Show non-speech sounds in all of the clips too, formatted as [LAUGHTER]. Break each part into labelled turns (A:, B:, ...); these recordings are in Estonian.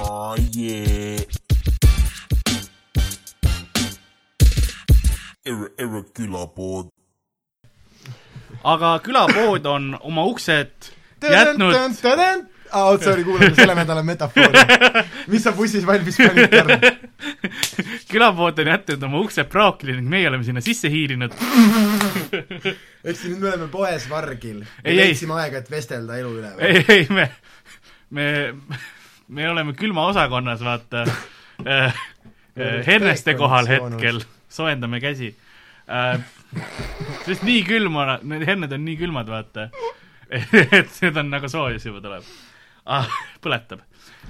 A: Oh yeah. Erre, Erre külapood .
B: aga külapood on oma uksed jätnud ,
C: aa , oot , sorry , kuulame selle nädala metafoori . mis sa bussis valmis panid , Karl ?
B: külapood on jätnud oma uksed praokile ning meie oleme sinna sisse hiilinud .
C: ehk siis nüüd me oleme poes Vargil ja
B: Ei, ei.
C: leidsime aega , et vestelda elu üle või ?
B: ei , ei , me , me , me oleme külmaosakonnas , vaata äh, , äh, herneste kohal hetkel , soojendame käsi äh, . sest nii külm on , need herned on nii külmad , vaata , [LAUGHS] et need on nagu soojus juba tuleb ah, . põletab .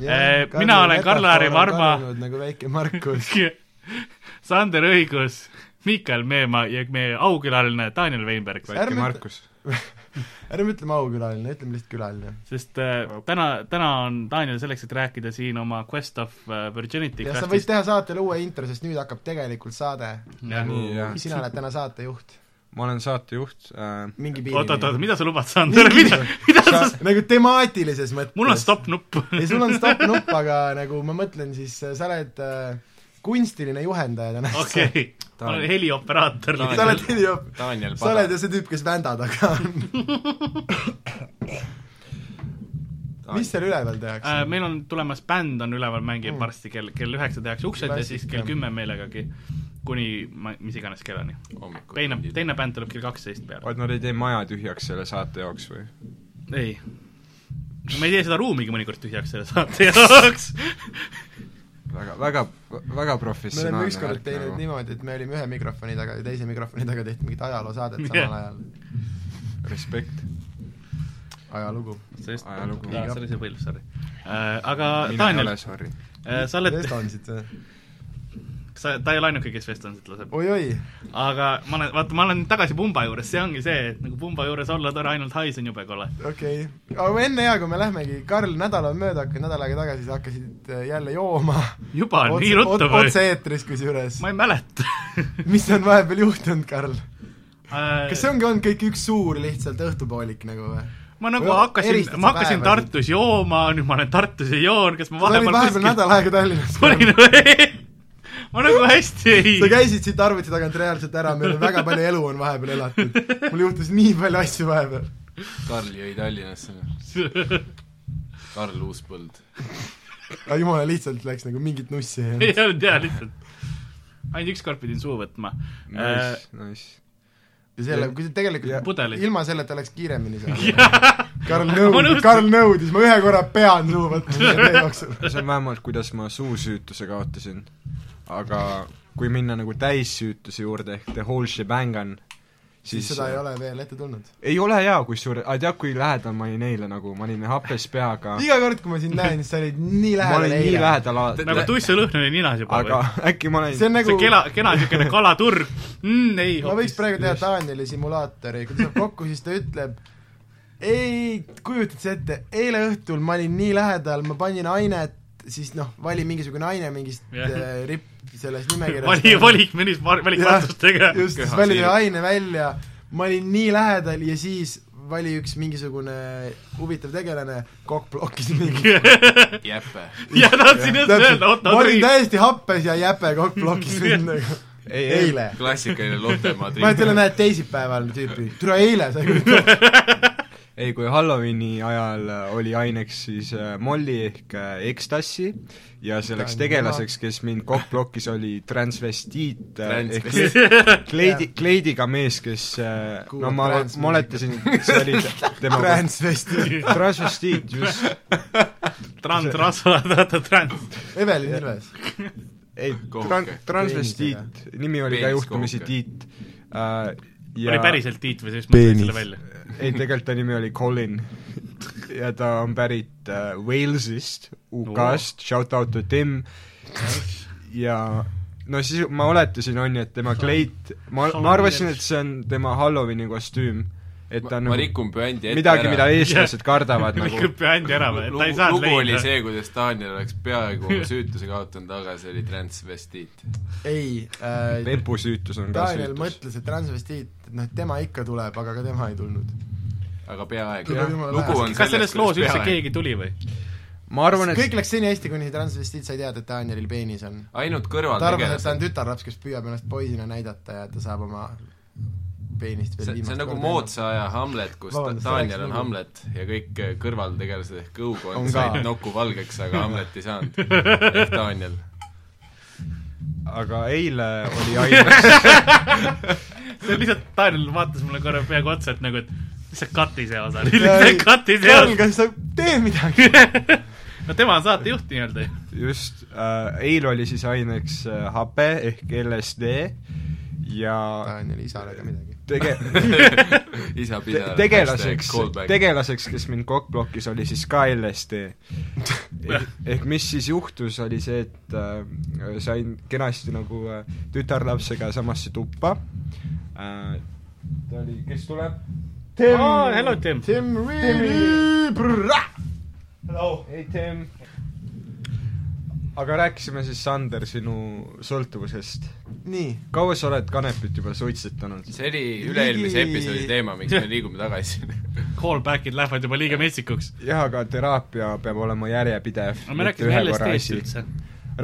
B: äh, mina olen Karl-Lari Varma ,
C: nagu väike Markus .
B: Sander Õigus , Miikael Meemaa ja meie aukülaline Daniel Veinberg .
C: Ärme
D: väike
C: ütle-
D: Markus .
C: ärme ütleme aukülaline , ütleme lihtsalt külaline .
B: sest äh, täna , täna on Daniel selleks , et rääkida siin oma Quest of äh, Virginity
C: ja sa
B: cast'ist.
C: võid teha saatele uue intro , sest nüüd hakkab tegelikult saade .
B: Jah.
D: nii jah ,
C: sina oled täna saatejuht .
D: ma olen saatejuht äh, .
C: mingi
B: oot , oot , oot ,
C: piirini .
B: mida sa lubad , Sander , [LAUGHS] mida , mida sa ,
C: nagu temaatilises mõttes .
B: mul on
C: [LAUGHS]
B: stopp-nupp .
C: ei , sul on stopp-nupp , aga nagu ma mõtlen , siis äh, sa oled äh, kunstiline juhendaja täna .
B: [LAUGHS] okei , ma olen
D: Taani.
B: helioperaator .
C: [LAUGHS]
D: Taani.
C: sa oled heliop- ,
D: Daniel
C: sa oled ju see tüüp , kes vända taga on . [LAUGHS] mis seal üleval tehakse ?
B: Äh, meil on tulemas bänd on üleval ,
C: Mm.
B: mängib varsti kell , kell üheksa tehakse uksed ja siis kell
C: Klassika.
B: kümme meelegagi kuni ma , mis iganes kellani . teine , teine bänd tuleb kell kaksteist peale .
D: oot , nad ei tee maja tühjaks selle saate jaoks või ?
B: ei . me ei tee seda ruumigi mõnikord tühjaks selle saate jaoks .
D: väga , väga , väga
C: me oleme
D: professionaalne
C: ükskord teinud nagu. . niimoodi , et me olime ühe mikrofoni taga ja teise mikrofoni taga tehti mingit ajaloosaadet samal
B: Jah.
C: yeah. ajal .
D: respekt .
C: ajalugu .
B: sest ,
D: Ajalugu.
B: see oli see põlv , sorry . aga
D: mina ei
B: Daniel
D: ole , sorry .
B: Äh, sa oled ,
C: Vestansite või ?
B: sa , ta ei ole ainuke , kes Vestonsit laseb .
C: oi-oi ,
B: aga ma olen , vaata , ma olen tagasi Pumba juures , see ongi see , et nagu Pumba juures olla tore , ainult hais on jube kole .
C: okei okay. . aga enne ja kui me lähmegi , Karl , nädal on mööda hakanud , nädal aega tagasi sa hakkasid äh, jälle jooma .
B: juba on nii ruttu või ?
C: otse-eetris kusjuures .
B: ma ei
C: [LAUGHS]
B: mäleta .
C: mis on vahepeal juhtunud , Karl ?
B: Äh,
C: kas see ongi olnud kõik üks suur lihtsalt õhtupoolik nagu või ?
B: ma nagu
C: Või
B: hakkasin
C: eristad , sa
B: ma hakkasin
C: päevasid?
B: Tartus jooma , nüüd ma olen Tartus ja joon , kas ma
C: sa olid
B: vahepeal
C: vahepeal nädal aega Tallinnas .
B: olin [LAUGHS] või ? ma nagu hästi ei ,
C: sa käisid siit arvuti tagant reaalselt ära , meil on väga palju elu on vahepeal elatud . mul juhtus nii palju asju vahepeal .
E: Karl jõi
B: [LAUGHS]
E: Tallinnasse . Karl Uuspõld .
C: aga jumala lihtsalt läks nagu mingit nussi ei olnud .
B: [LAUGHS] ei olnud hea lihtsalt . ainult ükskord pidin suu võtma . Äh.
D: Nice , nice .
C: ja selle , kui see tegelikult
B: Pudelid.
C: ilma selleta oleks kiiremini saanud . Karl
B: [LAUGHS]
C: nõudis ,
B: nõustusin.
C: Karl nõudis , ma ühe korra pean suu võtma selle tee jooksul .
D: see on vähemalt , kuidas ma suusüütuse kaotasin . aga kui minna nagu täissüütuse juurde ehk the whole shebang on ,
C: siis
D: siis
C: seda ei ole veel ette tulnud .
D: ei ole hea kusjuures , aga tead , kui lähedal ma olin eile nagu , ma olin happes peaga ,
C: iga kord , kui ma sind näen , siis sa olid nii
D: Ah. ma
C: lähedal
D: olin nii
C: eile .
D: lähedal alati ,
B: nagu tussulõhn oli ninas juba
D: aga
B: või ?
D: äkki ma
C: see
D: olin ,
C: on
B: see
C: nagu
B: kena , kena niisugune kalaturg mm, . ei ,
C: ma võiks
B: hoopis .
C: praegu teha Danieli simulaatori , kui ta saab kokku , siis ta ütleb ei , kujutad sa ette , eile õhtul ma olin nii lähedal , ma panin ainet , siis noh , vali mingisugune aine mingist
B: Jah.
C: yeah. ripp selles nimekirjas .
B: [LAUGHS] vali , valikmenüüs , valikvastustega .
C: just , siis
E: Köha
C: vali ühe
E: siirab.
C: aine välja , ma olin nii lähedal ja siis vali üks mingisugune huvitav tegelane , kokk plokkis mingi .
B: [LAUGHS]
E: jäpe .
B: ja tahtsin just öelda , oota ,
C: ma olin
B: oota ,
C: täiesti happes ja jäpe kokk
B: [LAUGHS]
C: plokkis mind nagu
D: ei , ei ,
C: eile .
E: klassikaline Lottemaa
C: ma ütlen , näed teisipäeval tüüpi , tule eile sai kõik
D: ei , kui Halloweeni ajal äh, oli aineks siis äh, Molly ehk äh, Ecstasy ja selleks tegelaseks , kes mind kokkplokkis , oli transvestiit äh, ehk
E: Transvestiit.
D: siis
C: [LAUGHS]
D: kleidi , kleidiga mees , kes äh,
C: Kuulab
D: no ma
C: transmusikat. ,
D: ma oletasin , see
C: [LAUGHS]
D: oli te- tema
C: transvesti .
D: transvestiit , just ,
B: trans , rasvad , vaata trans .
C: Evelin Ilves .
D: ei ,
E: [LAUGHS] Kohuke.
D: tran- , transvestiit , nimi oli ka
E: Peenis
D: juhtumisi
E: kohuke.
D: Tiit äh, ja
B: oli päriselt Tiit või siis ma tõin selle välja .
D: ei , tegelikult ta nimi oli Colin ja ta on pärit äh, Walesist , UK-st , shout out to Tim ja no siis ma oletasin , on ju , et tema kleit , ma , ma arvasin , et see on tema Halloweeni kostüüm , et ta
E: ma,
D: on
E: ma
D: nagu
E: rikun püändi ette
D: midagi , mida
C: [LAUGHS]
E: ära .
D: eestlased kardavad nagu
B: rikub bändi ära või , ta ei saanud
E: lugu oli
B: leida .
E: see , kuidas Daniel oleks
B: [LAUGHS]
E: peaaegu oma süütuse kaotanud , aga see oli transvestiit .
C: ei äh, ,
D: lepusüütus on ka
C: Daniel
D: süütus .
C: mõtles , et transvestiit , et noh , tema ikka tuleb , aga ka tema ei tulnud .
E: aga peaaegu
C: Tuleb jumala
E: lugu
C: vähe.
E: on
B: kas selles loos üldse keegi tuli või ?
D: ma arvan , et
C: kõik läks seni hästi , kuni see transvestiit sai teada , et Danielil peenis on .
E: ainult
C: ta arvas , et ta on
E: kõrvaltegelased .
C: tütarlaps , kes püüab ennast poisina näidata ja et ta saab oma peenist veel
E: see , see on
C: viimast
E: nagu moodsa aja Hamlet , kus
C: Vabandust,
E: ta- Daniel
C: see
E: on
C: läks
E: Hamlet ja kõik eh, kõrvaltegelased ehk
C: On
E: õukond
C: ka.
E: said noku valgeks ,
C: [LAUGHS]
E: aga Hamlet ei saanud . ehk Daniel .
D: aga eile
C: [LAUGHS]
D: oli ainas ,
B: see on lihtsalt , Daniel vaatas mulle korra peaaegu otsa , et nagu , et mis sa cut'i see osa oli ,
C: Jaa, ei.
B: cut'i see
C: Karl ,
B: osa .
C: kas sa tee midagi ?
B: [LAUGHS] no tema on saatejuht nii-öelda ju .
D: just äh, , eile oli siis aineks äh, hape ehk LSD ja
C: Danieli isale ka midagi .
E: [LAUGHS]
D: tege- ,
E: isa
D: te-
E: pidanud .
D: tegelaseks , tegelaseks , kes mind kokkblokis , oli siis ka LSD . ehk mis siis juhtus , oli see , et äh, sain kenasti nagu äh, tütarlapsega samasse tuppa äh, . ta oli , kes tuleb ?
B: aa , hello Tim .
C: Tim Reedy .
D: ei , Tim . aga rääkisime siis , Sander , sinu sõltuvusest .
C: nii ,
D: kaua sa oled kanepit juba suitsetanud ?
E: see oli üle-eelmise
C: Ligi-
E: episoodi teema , miks me liigume tagasi . [LAUGHS]
B: Callback'id lähevad juba liiga metsikuks .
D: jah , aga teraapia peab olema järjepidev .
B: no me rääkisime LSD-st üldse .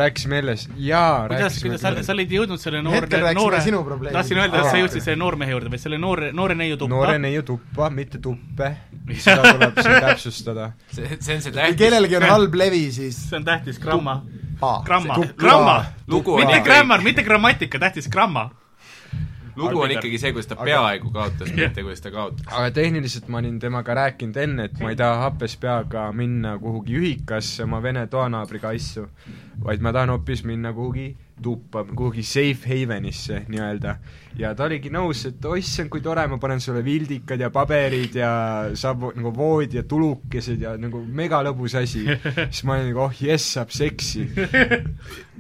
D: rääkisime LS- , jaa ,
B: kuidas , kuidas sa , sa olid jõudnud selle
C: Hetkel
B: noore ,
C: rääkisime
B: noore
C: sinu , probleemist.
B: tahtsin öelda , et sa
D: Aa.
B: jõudsid selle noormehe juurde , vaid selle noore , Ah, noore neiu tuppa .
D: noore neiu tuppa , mitte tuppe , seda tuleb siin täpsustada .
E: see , see on see
C: kui
E: tähtis
C: kellelgi on halb levi , siis
B: see on tähtis gramma ,
C: aa ,
B: gramma
D: Tup- ,
B: gramma ,
E: lugu on
B: mitte
E: ikkagi ,
B: grammar , mitte grammatika , tähtis gramma .
E: lugu on ikkagi see , kuidas ta
D: Aga-
E: peaaegu kaotas , mitte kuidas ta kaotas .
D: aga tehniliselt ma olin temaga rääkinud enne , et ma ei taha happes peaga minna kuhugi ühikasse oma vene toanaabriga asju , vaid ma tahan hoopis minna kuhugi tuppa , kuhugi safe havenisse nii-öelda . ja ta oligi nõus , et oissand , kui tore , ma panen sulle vildikad ja paberid ja saab nagu vood ja tulukesed ja nagu megalõbus asi . siis ma olin nagu oh jess , saab seksi .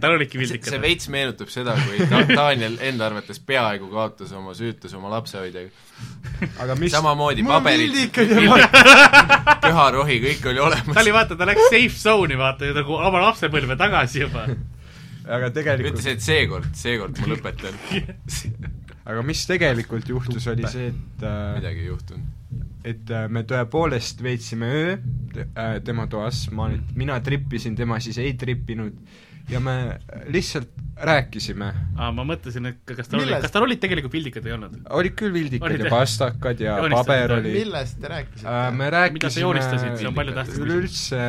B: tal olidki
E: see
B: vildikad
E: see . veits meenutab seda , kui ta- Daniel enda arvates peaaegu kaotas oma süütuse oma lapsehoidjaga .
D: aga mis
E: samamoodi
C: mul on
E: paberid ,
C: vildikad ja ma
E: köharohi , kõik oli
B: ta
E: olemas
B: oli , vaata , ta läks safe zone'i , vaata , nagu oma lapsepõlve tagasi juba . [LAUGHS]
D: aga tegelikult
E: ütles , et seekord , seekord ma lõpetan .
D: aga mis tegelikult juhtus , oli see , et äh,
E: midagi ei juhtunud .
D: et äh, me tõepoolest veetsime öö te- äh, tema toas , ma nüüd , mina tripisin , tema siis ei tripinud ja me lihtsalt rääkisime .
B: aa , ma mõtlesin , et kas tal oli ,
C: Millest?
B: kas tal olid tegelikult vildikad või ei olnud ?
D: olid küll vildikad
B: Olid,
D: ja
B: jah?
D: pastakad ja
B: Joonistasid
D: paber
B: ka.
D: oli .
C: millest te
D: Äh,
C: rääkisite ?
D: me
B: Mida sa
D: rääkisime
B: joonistasid, see on palju tähtsam
D: üleüldse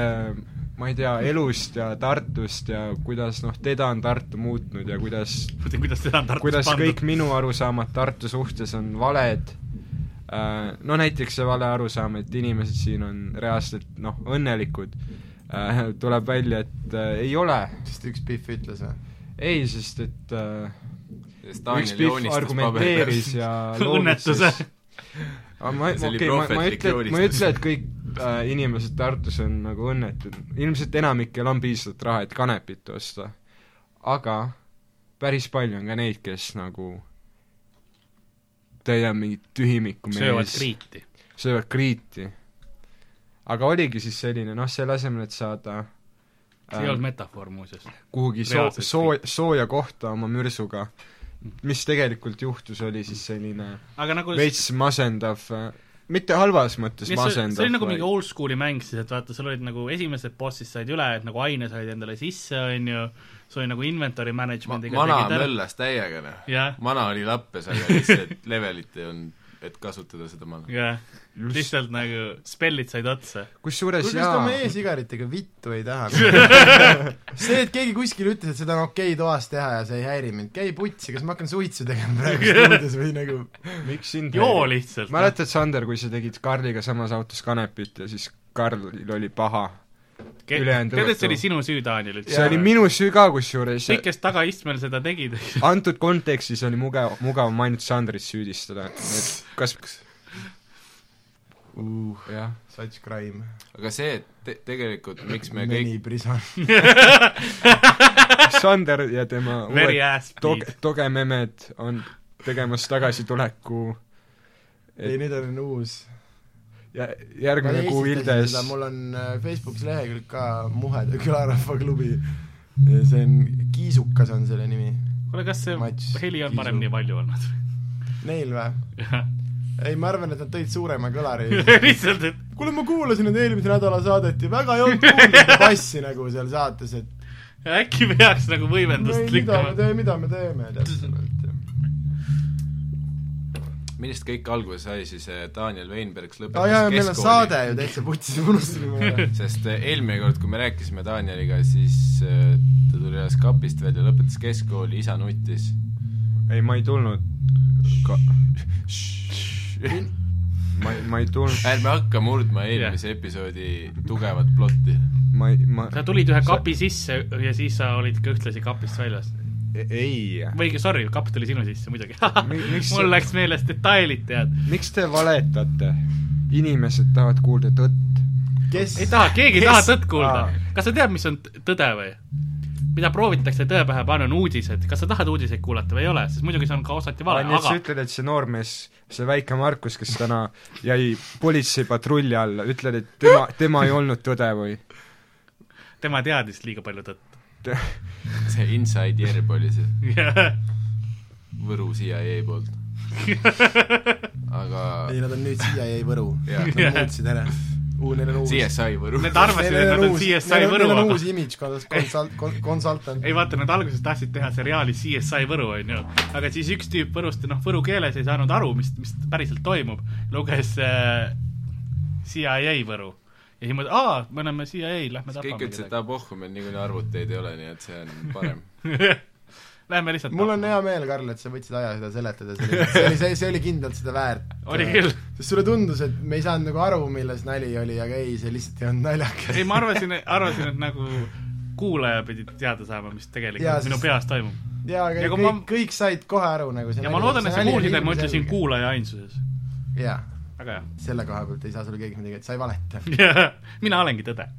D: ma ei tea , elust ja Tartust ja kuidas noh , teda on Tartu muutnud ja kuidas
B: mõtlen , kuidas teda on Tartus
D: kuidas kõik
B: pandud . [LAUGHS]
D: minu arusaamad Tartu suhtes on valed , no näiteks see vale arusaam , et inimesed siin on reaalselt noh , õnnelikud , tuleb välja , et äh, ei ole .
C: sest üks Pihv ütles või ?
D: ei , sest et äh,
E: sest
D: üks
E: Daniel
D: Pihv
E: joonistas paberi
D: argumenteeris
E: peal . [LAUGHS]
D: ja
B: õnnetuse .
D: aga ma ,
E: See oli
D: okei , ma , ma ei
E: prohvetlik
D: ütle , ma ei
E: joonistus.
D: ütle , et kõik äh, inimesed Tartus on nagu õnnetud , ilmselt enamikel on piisavalt raha , et kanepit osta . aga päris palju on ka neid , kes nagu täidab mingit tühimikku
B: söövad
D: mees ,
B: kriiti .
D: söövad kriiti . aga oligi siis selline , noh , selle asemel , et saada äh,
B: see ei olnud metafoor muuseas .
D: kuhugi soo- ,
B: Reaalselt
D: soo- , sooja kohta oma mürsuga , mis tegelikult juhtus , oli siis selline
B: aga nagu
D: veits masendav , mitte halvas mõttes
B: Mis see-
D: masendav .
B: see oli nagu mingi oldschool'i mäng siis , et vaata , sul olid nagu esimesed bossid said üle , et nagu aine said endale sisse , on ju , sul oli nagu inventory management'iga
E: mana möllas täiega , noh .
B: jah ,
E: mana oli lappes , aga lihtsalt levelit ei olnud , et kasutada seda mana .
B: jah , lihtsalt nagu spellid said otsa .
D: kusjuures
C: kuulge , kas te
D: jaa
C: oma , e-sigaritega vittu ei
D: [LAUGHS]
C: taha ? see , et keegi kuskil ütles , et seda on okei toas teha ja see ei häiri mind , käi putsi , kas ma hakkan suitsu tegema praegu stuudios või nagu
D: miks sind
B: joo lihtsalt .
D: mäletad , Sander , kui sa tegid Karliga samas autos kanepit ja siis Karlil oli paha ? ülejäänud
B: tead , et
D: õhtu.
B: see oli sinu süü , Daniel , et
D: see oli minu süü ka kusjuures .
B: kõik , kes tagaistmel seda tegid ,
D: antud kontekstis oli mugav , mugavam ainult Sandrit süüdistada , et kas uh, jah ,
C: such crime ,
E: aga see , et te- , tegelikult miks me kõik
C: meni prison .
D: Sander ja tema
B: [LAUGHS] very
D: uued
B: ass
D: tog-
B: beat .,
D: togememed on tegemas tagasituleku
C: ei , nüüd on uus .
D: ja järgmine kuu Ildes
C: mul on äh, Facebookis lehekülg ka Muheda külarahvaklubi . see on , Kiisukas on selle nimi .
B: kuule , kas see
C: Mats
B: heli on [LAUGHS]
C: Kiisu.
B: parem nii palju olnud ?
C: Neil või ? ei , ma arvan , et nad tõid suurema kõlari . [LAUGHS]
B: lihtsalt , et
C: kuule , ma kuulasin nüüd eelmise nädala saadet ja väga ei olnud kuulda seda bassi nagu seal saates , et
B: äkki peaks nagu
C: ei,
B: võimendust
C: mida me
B: lükkama .
C: teeme , mida me teeme täpsemalt .
E: millest kõik alguse sai siis eh, Daniel Veinberg
C: aa jaa ,
E: lõpetas
C: meil on saade ju täitsa putsis , unustasime ära .
E: sest eh, eelmine kord , kui me rääkisime Danieliga , siis eh, ta tuli ühest kapist välja , lõpetas keskkooli , isa nuttis .
D: ei , ma ei tulnud ka... . ma ei , ma ei tulnud ,
E: ärme hakka murdma eelmise episoodi tugevat plotti .
D: ma ei , ma
B: sa tulid ühe kapi sisse ja siis sa olid ka ühtlasi kapist väljas .
D: ei ,
B: või sorry , kapp tuli sinu sisse [LAUGHS] muidugi
D: Mi- miks . sa-
B: mul läks meelest detailid , tead .
D: miks te valetate ? inimesed tahavad kuulda tõtt .
C: kes
B: ei taha , keegi ei taha
C: kes-
B: tõtt kuulda
C: aa. .
B: kas sa tead , mis on t- tõde või ? mida proovitakse tõe pähe panna , on uudised . kas sa tahad uudiseid kuulata või ei ole , sest muidugi see on ka osati vale ,
D: nii et sa
B: aga
D: ütled , et see noormees , see väike Markus , kes täna jäi politseipatrulli alla , ütled , et
B: [LAUGHS]
D: tema , tema ei olnud tõde või ?
B: tema teadis liiga palju tõtt .
E: see Inside Jerb oli see Võru CIA poolt . aga
C: ei , nad on nüüd siia jäi Võru .
E: Jaa.
C: Nad muutsid ära . Neil on uus .
E: CSI Võru .
B: Need arvasid , et nad on CSI Võru ,
C: Neil on
B: aga
C: uus imidž , konsult- , konsultant .
B: ei vaata , nad alguses tahtsid teha seriaali CSI Võru , onju , aga siis üks tüüp Võrust , noh , võru keeles ei saanud aru , mis , mis päriselt toimub , luges äh, CIA Võru ja siis mõtles , aa , me oleme CIA , lähme
E: kõik
B: tapame
E: ütlesid , et aa pohhu , meil niikuinii arvuteid ei ole , nii et see on parem .
B: kedagi . [LAUGHS] Lähme lihtsalt
C: mul on hea meel , Karl , et sa võtsid aja seda seletada , see oli , see oli , see, see oli kindlalt seda väärt .
B: oli küll ,
C: sest sulle tundus , et me ei saanud nagu aru , milles nali oli , aga ei , see lihtsalt ei olnud naljakas .
B: ei ma arvasin , arvasin , et nagu kuulaja pidi teada saama , mis tegelikult
C: Jaa,
B: ja, minu
C: sest-
B: peas toimub .
C: jaa , aga
B: Ja kui
C: kõik
B: ma-
C: ma... , kõik said kohe aru nagu see
B: ja ma loodan , et sa kuulsid , et ma ütlesin . kuulaja ainsuses .
C: jaa ,
B: väga
C: selle koha pealt ei saa sulle keegi midagi , et sa ei
B: [LAUGHS]
C: valeta .
B: hea . mina olengi tõde .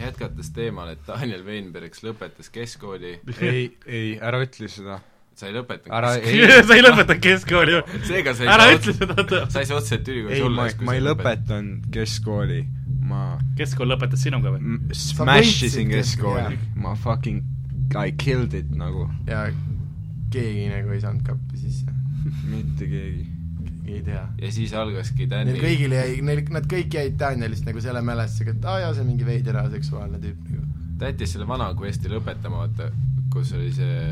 E: jätkates teemal , et Daniel Veinbergs lõpetas keskkooli ,
D: ei , ei , ära ütle seda .
E: sa ei
D: ära ,
E: lõpetanud .
D: ei ,
B: [LAUGHS] sa ei lõpeta keskkooli .
E: seega sa ei
B: ära
E: saa
B: ütle
E: otse-
B: seda tõtt .
E: sa ei saa otseselt ülikoolis
D: ei , ma
E: olla .
D: ei , ma ei . lõpetanud keskkooli , ma
B: keskkool lõpetas sinuga või ?
D: m- smash
C: võitsid
D: isin keskkooli
C: keskkooli. ,
D: ma fucking , I killed it nagu ,
C: ja keegi nagu ei saanud kappi sisse ,
D: mitte keegi .
C: keegi ei tea .
E: ja siis algaski
C: Neil
E: Daniel
C: kõigil jäi , neil , nad kõik jäid Danielist nagu selle mälestusega , et aa jaa , see on mingi veider aseksuaalne tüüp nagu .
E: ta jättis selle vana quest'i lõpetama , vaata , kus oli see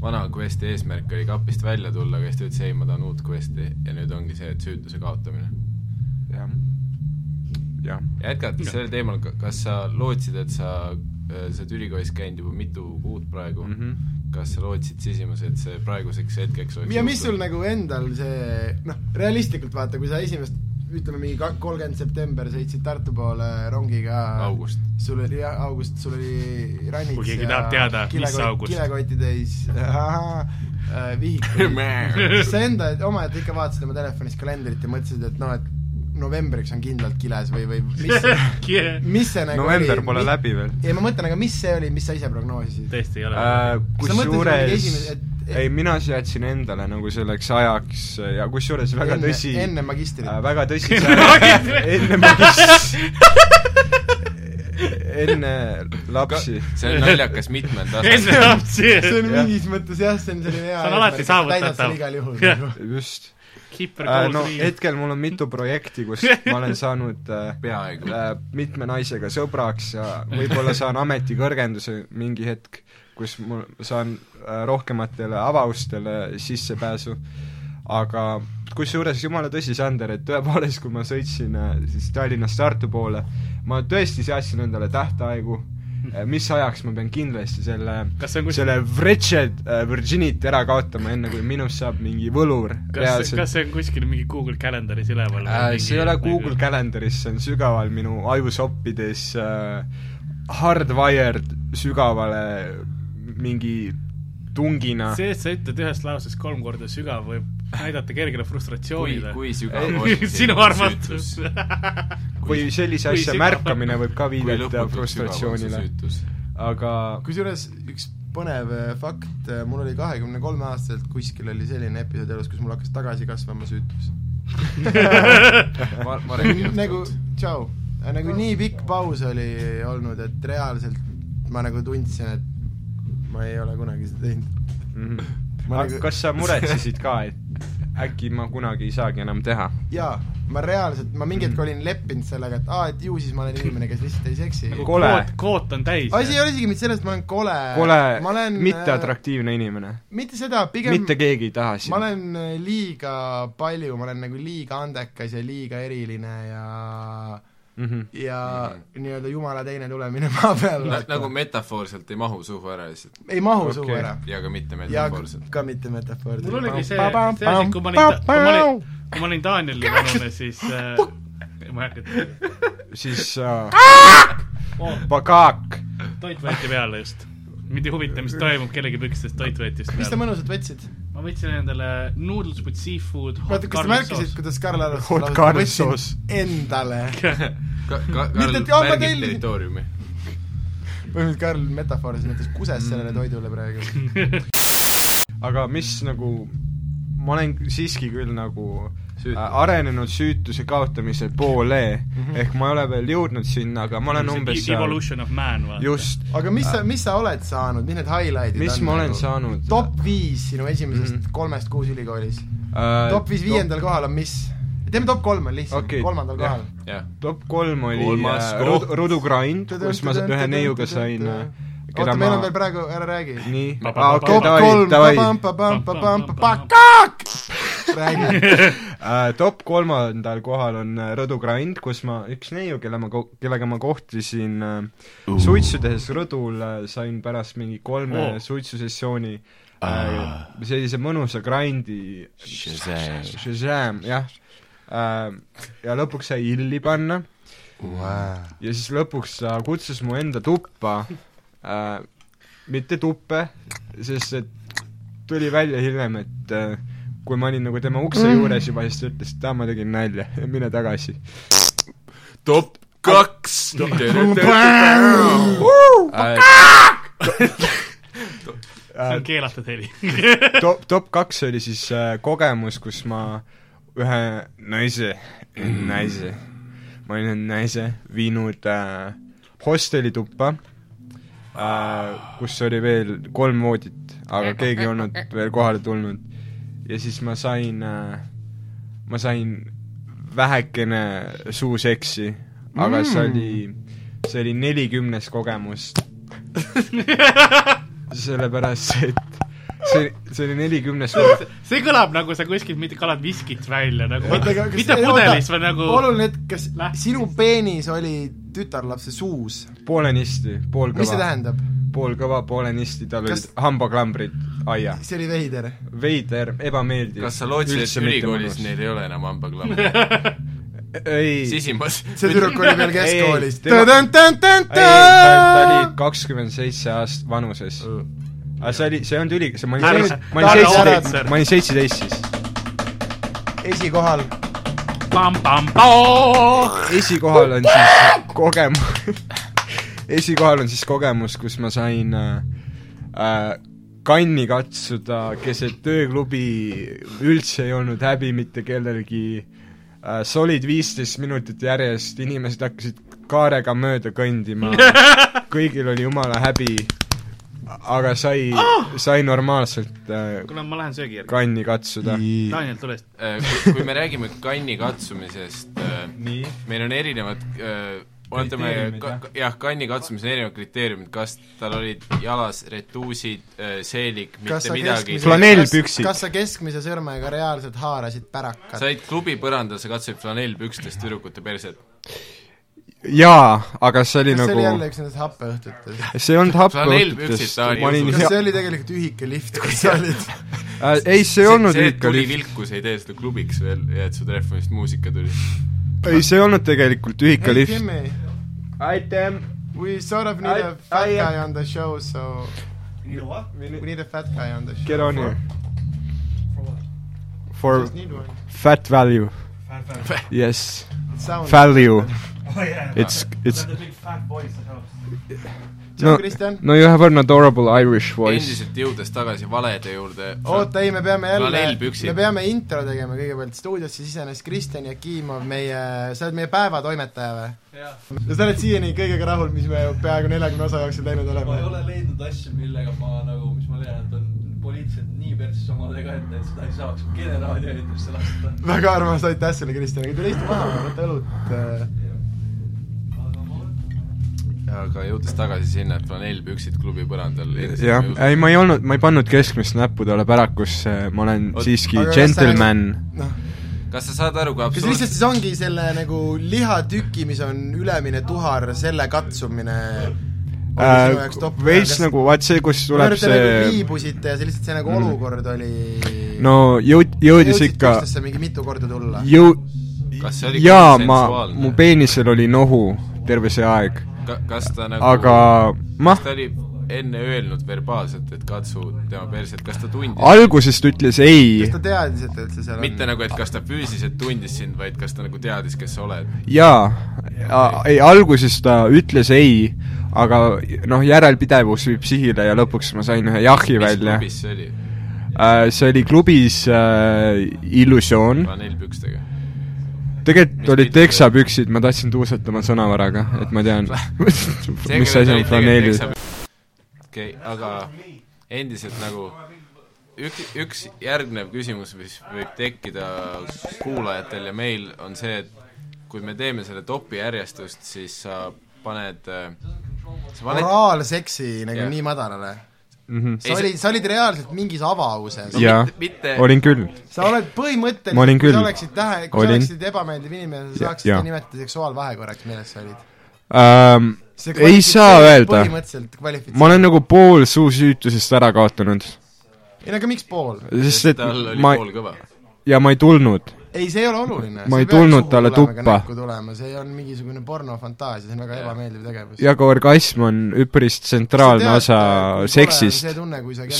E: vana quest'i eesmärk oli kapist välja tulla , aga siis ta ütles ei , ma tahan uut quest'i ja nüüd ongi see , et süütuse kaotamine .
D: jah , jah .
E: jätkates sellel teemal , kas sa lootsid , et sa , sa oled ülikoolis käinud juba mitu kuud praegu mm ,
D: Mhm.
C: Mhm.
E: -hmm. kas sa lootsid sisimas , et see praeguseks hetkeks
C: ja mis sul ? nagu endal see , noh , realistlikult vaata , kui sa esimest , ütleme mingi kolmkümmend september sõitsid Tartu poole rongiga
E: august .
C: sul oli ja- august , sul oli ranits
B: Kui keegi
C: ja
B: tahab teada, mis
C: kilekott-
B: august.
C: kilekotitäis äh,
B: [LAUGHS]
C: vihikuid . sa enda , omaette ikka vaatasid oma telefonis kalendrit ja mõtlesid , et noh , et novembriks on kindlalt kiles või , või mis ,
B: [LAUGHS]
C: mis see nagu
D: november
C: oli,
D: pole
C: mi-
D: läbi veel .
C: ei , ma mõtlen , aga mis see oli , mis sa ise prognoosisid ?
B: tõesti ei ole [LAUGHS]
D: Äh,
C: Kas sa mõtlesid, et oli
D: kusjuures
C: esimene- , et- et-
D: ei mina jätsin endale nagu selleks ajaks äh, ja kusjuures väga
C: Enne-
D: tõsi
C: enne magistrit.
D: äh, väga tõsise [LAUGHS] enne magistrit enne lapsi
E: see on naljakas
B: [LAUGHS]
E: mitmel
B: enne
E: tasandil .
B: lapsi
C: [LAUGHS] see on
D: Jah.
C: mingis mõttes jah , see on selline hea
B: See on alati
C: eesmärk, et täidad
B: saavutatav.
C: selle igal juhul
B: Jah.
C: nagu .
D: just
B: Kipper
D: äh,
B: Gold
D: no
B: Reed .
D: hetkel mul on mitu projekti , kus ma olen saanud äh,
E: peaaegu .
D: äh, mitme naisega sõbraks ja võib-olla saan ametikõrgenduse mingi hetk , kus mul saan äh, rohkematele avaustele sissepääsu , aga kusjuures jumala tõsi , Sander , et tõepoolest , kui ma sõitsin äh, siis Tallinnast Tartu poole , ma tõesti seadsin endale tähtaegu , mis ajaks ma pean kindlasti selle
B: Kas see on kus-
D: selle wretched äh, virginity ära kaotama , enne kui minust saab mingi võlur
B: kas , kas see on kuskil mingi Google Calendaris üleval või
D: Äh,
B: mingi-
D: see ei ole Google Calendaris , see on sügaval minu ajusoppides äh, hardwired sügavale mingi tungina .
B: see , et sa ütled ühes lauses kolm korda sügav , võib näidata kergele
E: kui ,
B: frustratsioonile .
E: kui sügav
D: Ei,
B: [LAUGHS]
E: oli
B: sinu armastus .
D: või sellise
B: kui
D: asja
B: sügav-
D: märkamine võib ka
E: kui
D: viidata
E: lõputult sügav on see
D: frustratsioonile ,
E: süütus .
D: aga
C: kusjuures üks põnev äh, fakt , mul oli kahekümne kolme aastaselt kuskil oli selline episood elus , kus mul hakkas tagasi kasvama süütus .
E: [LAUGHS] ma , ma räägin
C: nagu , tšau , nagu nii pikk paus oli olnud , et reaalselt ma nagu tundsin , et ma ei ole kunagi seda teinud .
B: [LAUGHS]
D: mm,
C: Ma
D: aga
C: nagu-
D: kas sa muretsesid ka , et äkki ma kunagi ei saagi enam teha .
C: jaa , ma reaalselt , ma mingi
D: Mm.
C: hetk olin leppinud sellega , et aa , et ju siis ma olen inimene , kes lihtsalt ei seksi .
D: Nagu
C: asi
D: kole.
B: kvoot , kvoot on täis .
C: ei ole isegi mitte selles , et ma olen kole .
D: kole
C: ma olen ,,
D: mitteatraktiivne inimene .
C: mitte seda , pigem
D: mitte keegi ei taha sind .
C: ma olen äh, liiga palju , ma olen nagu liiga andekas ja liiga eriline ja
D: mm . -hmm.
C: ja nii-öelda jumala teine tulemine [LAUGHS] maa peal .
E: nagu metafoorselt ei mahu suhu ära lihtsalt
C: ei mahu okay. suhu
D: Okei.
C: ära .
E: ja ka mitte
C: ja
E: metafoorselt .
C: ka mitte metafoor .
B: mul oligi see , see asi , kui ma olin , kui ma olin , kui ma olin Danieli vanune , siis äh, ma ei hakka ütlema ,
D: siis äh, [LAUGHS]
B: Oh.
D: pagaak .
B: toit võeti peale just . mind ei huvita , mis toimub kellegi pükstes , toit võeti just
C: mis te
B: peale .
C: mõnusalt võtsid ?
B: ma võtsin endale noodles with seafood hot
C: oota , kas te
B: garlic
C: märkasid ,
B: sauce .
C: kuidas Karl Aros
D: Hot garlic sauce.
C: endale ,
E: ka , ka ,
C: Mitte,
E: Karl
C: et jaa, ma
E: märgib
C: tellin-
E: territooriumi .
C: põhimõtteliselt Karl metafooris näiteks
D: Mm.
C: kuses sellele toidule praegu .
D: aga mis nagu , ma olen siiski küll nagu
E: Süütu.
D: äh, arenenud süütuse kaotamise poole mm , -hmm. ehk ma ei ole veel jõudnud sinna , aga ma olen umbes seal ,
B: e-, Evolution of man , vaata .
D: just ,
C: aga mis sa , mis sa oled saanud , mis need highlight'id
D: mis
C: on
D: ma olen
C: nagu?
D: saanud .
C: top viis sinu esimesest mm
D: Mhm.
C: -hmm. kolmest kuus ülikoolis .
D: Äh,
C: top viis viiendal kohal on mis ? teeme top kolm on lihtsam okay. ,
D: Okei,
C: kolmandal
D: jah.
C: kohal .
E: jah ,
D: top kolm oli
E: Kolmas
D: äh,
E: koht.
D: Rud- , Rudu Grind , kus ma sa- ühe neiuga sain ,
C: oota ,
D: keda
C: meil on
D: ma
C: veel , praegu , ära räägi .
D: nii ,
B: Pa- pa- pa-
D: okei ,
B: pa-
C: top
D: davai ,
C: kolm ,
D: davai .
C: pakak !
B: [LAUGHS]
C: räägi .
D: [LAUGHS] Äh, top kolmandal kohal on äh, Rõdu Grind , kus ma , üks neiu , kelle ma , kellega ma kohtusin äh, suitsu tehes rõdul äh, , sain pärast mingi kolme
B: Oo.
D: oh. suitsusessiooni äh, sellise mõnusa grindi Shazam , jah äh, . ja lõpuks sai illi panna ja siis lõpuks ta kutsus mu enda tuppa äh, , mitte tuppe , sest et tuli välja hiljem , et äh, kui ma olin nagu tema ukse juures juba , siis ta ütles , et aa , ma tegin nalja , [LAUGHS] mine tagasi .
E: top kaks . Äh,
B: see on keelatud heli .
D: top , Äh, top kaks oli siis äh, kogemus , kus ma ühe naise , naise , ma olin ühe naise viinud äh, hosteli tuppa äh, , kus oli veel kolm voodit , aga keegi ei olnud veel kohale tulnud . ja siis ma sain äh, , ma sain vähekene suuseksi , aga see oli , see oli nelikümnes kogemus sellepärast , et see , see oli nelikümnes kord ,
B: [LAUGHS] see kõlab nagu sa kuskilt mitte kalad viskit välja nagu ,
C: Oota, aga kas-
B: mitte
C: ei,
B: pudelis ,
C: oota,
B: vaid nagu
C: oluline hetk , kas
B: Lähtis.
C: sinu peenis oli tütarlapse suus ?
D: poolenisti , pool
C: mis see
D: kõva ,
C: tähendab ?
D: pool kõva poolenisti , tal olid
C: Kas-
D: hambaklambrid aia .
C: see oli veider .
D: veider , ebameeldiv .
E: kas sa lootsid , et ülikoolis neil ? ei ole enam [LAUGHS] hambaklamme ?
D: ei , ei ,
E: sisimas .
C: see tüdruk oli veel keskkoolis .
D: tema- ta
C: ta
D: oli kakskümmend seitse aast- vanuses . aga see oli , see ei olnud üli- , see , ma
B: Härra-
D: olin seitse , ma
B: härra
D: olin
B: ohvitser.
D: seitseteist , ma olin seitseteist siis .
C: esikohal .
B: pam-pam-poo .
D: esikohal on siis kogemus , [LAUGHS] esikohal on siis kogemus , kus ma sain äh, äh, kanni katsuda keset ööklubi , üldse ei olnud häbi mitte kellelgi äh, , solid viisteist minutit järjest , inimesed hakkasid kaarega mööda kõndima , kõigil oli jumala häbi , aga sai , sai normaalselt äh,
B: kuule , ma lähen söögi järgi .
D: kanni katsuda .
B: Daniel , tule siit .
E: Äh, kui kui me räägime kanni katsumisest , äh,
D: nii ,
E: meil on erinevad öö, oletame
D: Kriteeriumid, ,
E: jah , kanni katsumisel on erinevad kriteeriumid , kas tal olid jalas retuusid , seelik ,
C: kas
E: mitte
C: sa
E: midagi .
C: keskmise ,
E: sa
D: Flanellpüksid.
C: kas sa keskmise sõrmega reaalselt haarasid pärakat ?
E: olid klubipõrandal , sa katsusid flanellpükstest tüdrukute perset .
D: jaa , aga see oli
C: kas see oli jälle
D: nagu ,
C: üks nendest happeõhtutest ?
D: see ei olnud
E: Flanellpüksid
D: happeõhtutest
E: ta , oli
D: ma olin
E: uskus.
C: kas
D: hea
C: see , oli tegelikult ühike lift , kus sa olid ?
D: äh, . ei , see ei olnud
E: see , et
D: ikka
E: tuli
D: lift ,
E: vilkus , ei tee seda klubiks veel ja et su telefonist muusika tuli .
D: ei , see ei olnud tegelikult ühika
C: Hey
D: lift .
C: Jimmy ,
D: aitäh .
C: we sort of need
D: I-
C: a fat
D: I-
C: guy on the show , so we need a fat guy on the show .
D: Get on here . For
C: Just need one.
D: fat value . Yes ,
C: It sounds
D: value .
C: Oh,
D: It's , it's ,
C: no
D: no ,
C: Kristjan no. ,
D: no you have an adorable Irish voice .
E: endiselt jõudes tagasi valede juurde .
C: oota ei , me peame jälle ,
E: Flanellpüksid.
C: me peame intro tegema kõigepealt , stuudiosse sisenes Kristjan Jakimov , meie , sa oled meie päevatoimetaja või ? ja sa oled siiani kõigega rahul , mis me peaaegu neljakümne osa jooksul teinud
F: ma ei
C: oleme ?
F: ole leidnud asju , millega ma nagu , mis ma leian , et on poliitiliselt nii persis omadega ette , et seda ei saaks generaalitöötesse lasta .
C: väga armas , aitäh sulle , Kristjan , aga tule istu maha , võta õlut . äh,
E: aga jõudes tagasi sinna , et flanellpüksid klubi põrandal .
D: jah , ei ma ei olnud , ma ei pannud keskmist näppu talle pärakusse , ma olen
E: Oot-
D: siiski
C: Aga kas sa-
D: džentelmän .
C: noh ,
E: kas sa saad aru , kui
C: kas
E: absurd
C: lihtsalt siis ongi selle nagu lihatüki , mis on ülemine tuhar , selle katsumine oli sinu jaoks top-
D: Äh, veits
C: kas-
D: nagu , vaat see , kus
C: ma
D: tuleb
C: arvan, et te nagu
D: see ,
C: viibusite ja see lihtsalt see nagu
D: Mm.
C: olukord oli
D: no jõud- , jõudis
C: jõudsite
D: ikka ,
C: üksteisse mingi mitu korda tulla
D: jõu- ,
E: Kas see oli
D: jaa , ma ,
E: konsensuaalne?
D: mu peenisel oli nohu terve see aeg ,
E: ka, , kas ta nagu
D: aga
E: kas
D: mah ,
E: ta oli enne öelnud verbaalselt , et katsu tema perset , kas ta tundis
D: alguses ta ütles ei
C: kas ta teadis , et ta üldse seal
E: mitte
C: on ?
E: nagu , et kas ta füüsiliselt tundis sind , vaid kas ta nagu teadis , kes sa oled .
D: jaa , ei alguses ta ütles ei , aga noh , järelpidevus viib sihile ja lõpuks ma sain ühe jahi
E: mis
D: välja .
E: klubis see oli ?
D: see oli klubis äh, Illusioon ,
E: flanellpükstega .
D: tegelikult
E: Mis
D: olid
E: pidi-
D: teksapüksid , ma tahtsin tuusata oma sõnavaraga , et ma tean , [LAUGHS] mis asi on flaneelid .
E: okei , aga endiselt nagu üks , üks järgnev küsimus , mis võib tekkida kuulajatel ja meil , on see , et kui me teeme selle topi järjestust , siis sa paned , sa paned
C: oraalseksi nagu
E: Jah.
C: yeah. nii madalale .
E: Ei,
D: Mhm.
C: sa
E: see-
C: olid , sa olid reaalselt mingis avauses .
D: jaa
E: mitte- , mitte-
D: olin küll .
C: sa oled põhimõtteliselt ,
D: Ma olin
C: kui sa
D: küll.
C: oleksid tähe , kui sa
D: Olin.
C: oleksid ebameeldiv inimene , sa
D: Ja-
C: saaksid seda
D: jaa.
C: nimetada seksuaalvahekorraks , milles sa olid .
D: Ähm, Ei saa öelda ,
C: põhimõtteliselt kvalifitseeritud
D: ma . olen nagu pool suusüütusest ära kaotanud ,
C: ei no aga miks pool ?
D: sest et
E: tal oli
D: ma
E: pool kõva .
D: ja ma ei tulnud ,
C: ei , see ei ole oluline .
D: Ma ei tulnud talle tuppa.
C: tulema , see on mingisugune pornofantaasia , see on väga ebameeldiv tegevus .
D: ja ka orgasm on üpris tsentraalne osa seksist .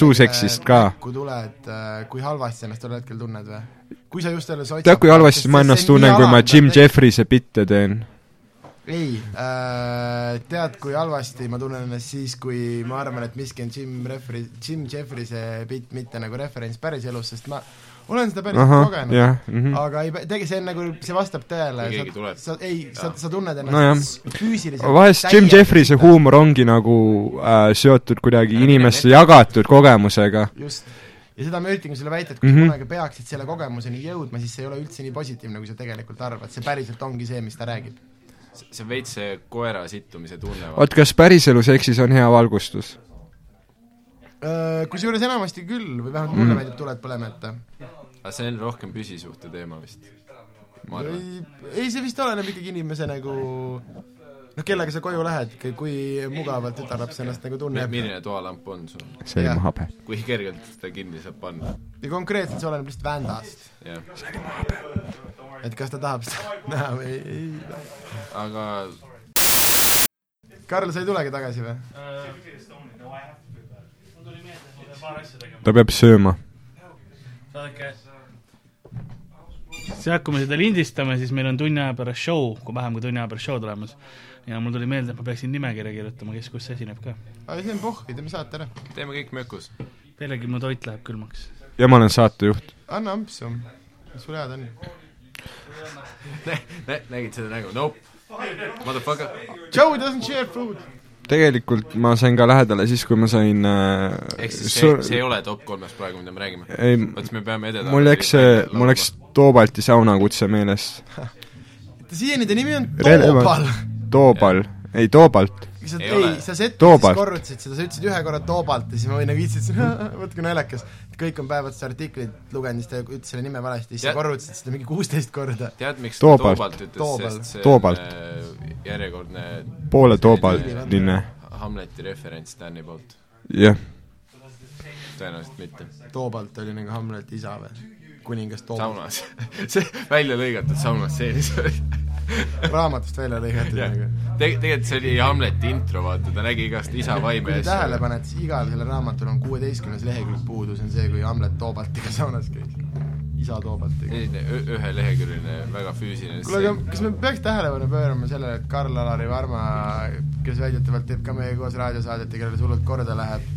D: suuseksist ka.
C: kui tuled , kui halvasti sa ennast tol hetkel tunned või ? kui sa just alles
D: tead , kui halvasti ma ennast tunnen , kui ma Jim . Jeffriese bitte teen ?
C: ei äh, , tead , kui halvasti ma tunnen ennast siis , kui ma arvan , et miski on Jim Refri- , Jim Jeffriese bitt , mitte nagu referents päriselus , sest ma olen seda päriselt
D: ahah ,
C: kogenud .
D: jah , mhm. mhmh .
C: aga ei , tegelikult see on nagu , see vastab tõele .
E: Kui keegi tuleb.
C: sa , ei , sa , sa tunned
D: Nojah.
C: ennast no füüsiliselt
D: vahest Jim Jeffriese huumor ongi nagu äh, seotud kuidagi inimeste jagatud kogemusega .
C: just . ja seda ma üritangi sulle väita , et kui mm
D: Mhm.
C: -hmm. kunagi peaksid selle kogemuseni jõudma , siis see ei ole üldse nii positiivne , kui sa tegelikult arvad , see päriselt ongi see , mis ta räägib .
E: see on veits see koera sittumise tunne .
D: oot , kas päriselus eksis on hea valgustus ?
C: Kusjuures enamasti küll , või vähemalt
D: Mhm.
C: mulle mm. meeldib tuled põlema jätta .
E: aga see on rohkem püsisuhte teema vist . ma arvan .
C: ei , ei see vist oleneb ikkagi inimese nagu noh , kellega sa koju lähed , kui mugavalt tütarlaps ennast nagu tunneb
E: milline toalamp on sul ?
D: see oli
C: Jah.
D: mu habe .
E: kui kergelt seda kinni saab panna ?
C: ja konkreetselt see oleneb lihtsalt vändast ,
E: jah ,
C: et kas ta tahab seda näha või ei, ei .
E: aga
C: Karl , sa ei tulegi tagasi või ?
B: paar asja tegema .
D: ta peab sööma .
B: saadake . see , kui me seda lindistame , siis meil on tunni aja pärast show , kui vähem kui tunni aja pärast show tulemas . ja mul tuli meelde , et ma peaksin nimekirja kirjutama , kes kus esineb ka .
C: aga see on pohh , teeme saate ära .
E: teeme kõik mökus .
B: pealegi mu toit läheb külmaks .
D: ja ma olen saatejuht .
C: anna ampsu , mis sul head on ?
E: Nä- , nägid seda nägu ? Nope . Motherfucker .
C: Joe doesn't share food .
D: tegelikult ma sain ka lähedale siis , kui ma sain äh,
E: ehk siis see , see ei ole top kolmes praegu , mida me räägime .
D: ei ,
E: vot siis me peame ededa .
D: mul läks see , mul läks . Toobalti saunakutse meelest .
C: siiani ta nimi on
D: Relevant.
C: Toobal .
D: Toobal , ei Toobalt .
C: sa ,
E: Ei
C: ei
E: ole. ,
C: sa settides
D: Toobalt.
C: korrutasid seda , sa ütlesid ühe korra Toobalt ja siis ma nagu viitsin , [LAUGHS] vot kui naljakas . kõik on päevad seda artiklit lugenud , siis ta ütles selle nime valesti , siis sa
E: Ja-
C: korrutasid seda mingi kuusteist korda .
E: tead , miks ta
D: Toobalt.
E: Toobalt ütles ,
C: Toobalt.
E: sest see
D: Toobalt.
E: on äh, järjekordne
D: poole Toobaline ,
E: Hamleti referents Stani poolt .
D: jah .
E: tõenäoliselt mitte .
C: Toobalt oli nagu Hamleti isa või ? kuningas Toobalt .
E: saunas . [LAUGHS] see välja lõigatud saunas stseenis oli
C: raamatust välja lõigatud
E: Jah.
C: nagu .
E: [LAUGHS] Teg- , tegelikult see oli Hamleti intro , vaata , ta nägi igast isa
C: kui
E: vaime
C: te tähele . panete , siis igal sellel raamatul on kuueteistkümnes lehekülg puudu , see on see , kui Hamlet Toobaltiga saunas käis . isa Toobaltiga .
E: selline ü- üheleheküljeline , väga füüsiline
C: kuule , aga . kas me peaks tähelepanu pöörama sellele , et Karl-Alari Varma , kes väidetavalt teeb ka meiega koos raadiosaadet ja kellele hullult korda läheb ,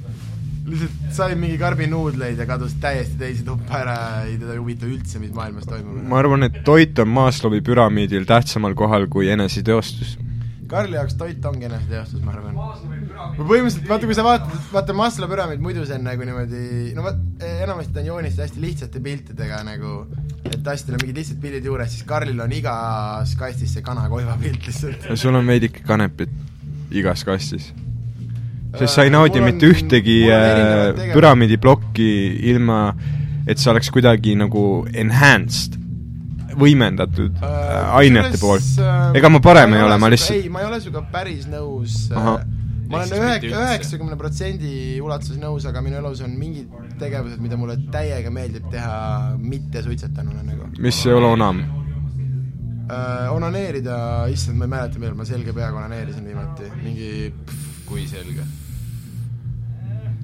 C: lihtsalt sai mingi karbinuudleid ja kadus täiesti teise tuppa ära ja teda ei huvita üldse , mis maailmas toimub .
D: ma arvan , et toit on Maslowi püramiidil tähtsamal kohal kui eneseteostus .
C: Karli jaoks toit ongi eneseteostus , ma arvan . no põhimõtteliselt , vaata , kui sa vaatad , vaata Maslow püramiid muidu see on nagu niimoodi , no vot , enamasti ta on joonistatud hästi lihtsate piltidega nagu , et hästi on mingid lihtsad pildid juures , siis Karlil on igas kastis see kanakoiva pilt lihtsalt .
D: [LAUGHS] sul on veidike kanepit igas kastis . sest sa ei naudi mitte ühtegi äh, püramiidiplokki ilma , et see oleks kuidagi nagu enhanced , võimendatud äh, ainete poolt . ega ma parem ei ole , ma lihtsalt
C: äh, ei , ma ei ole sinuga päris nõus . ma
D: Ahah.
E: Ehk
C: olen
E: siis mitte
C: ühe-
E: üldse.
C: üheksakümne protsendi ulatuses nõus , aga minu elus on mingid tegevused , mida mulle täiega meeldib teha mitte suitsetanuna nagu .
D: mis ei ole enam .
C: äh, onaneerida , issand , ma ei mäleta , millal ma selge peaga onaneerisin viimati , mingi pff,
E: kui selge .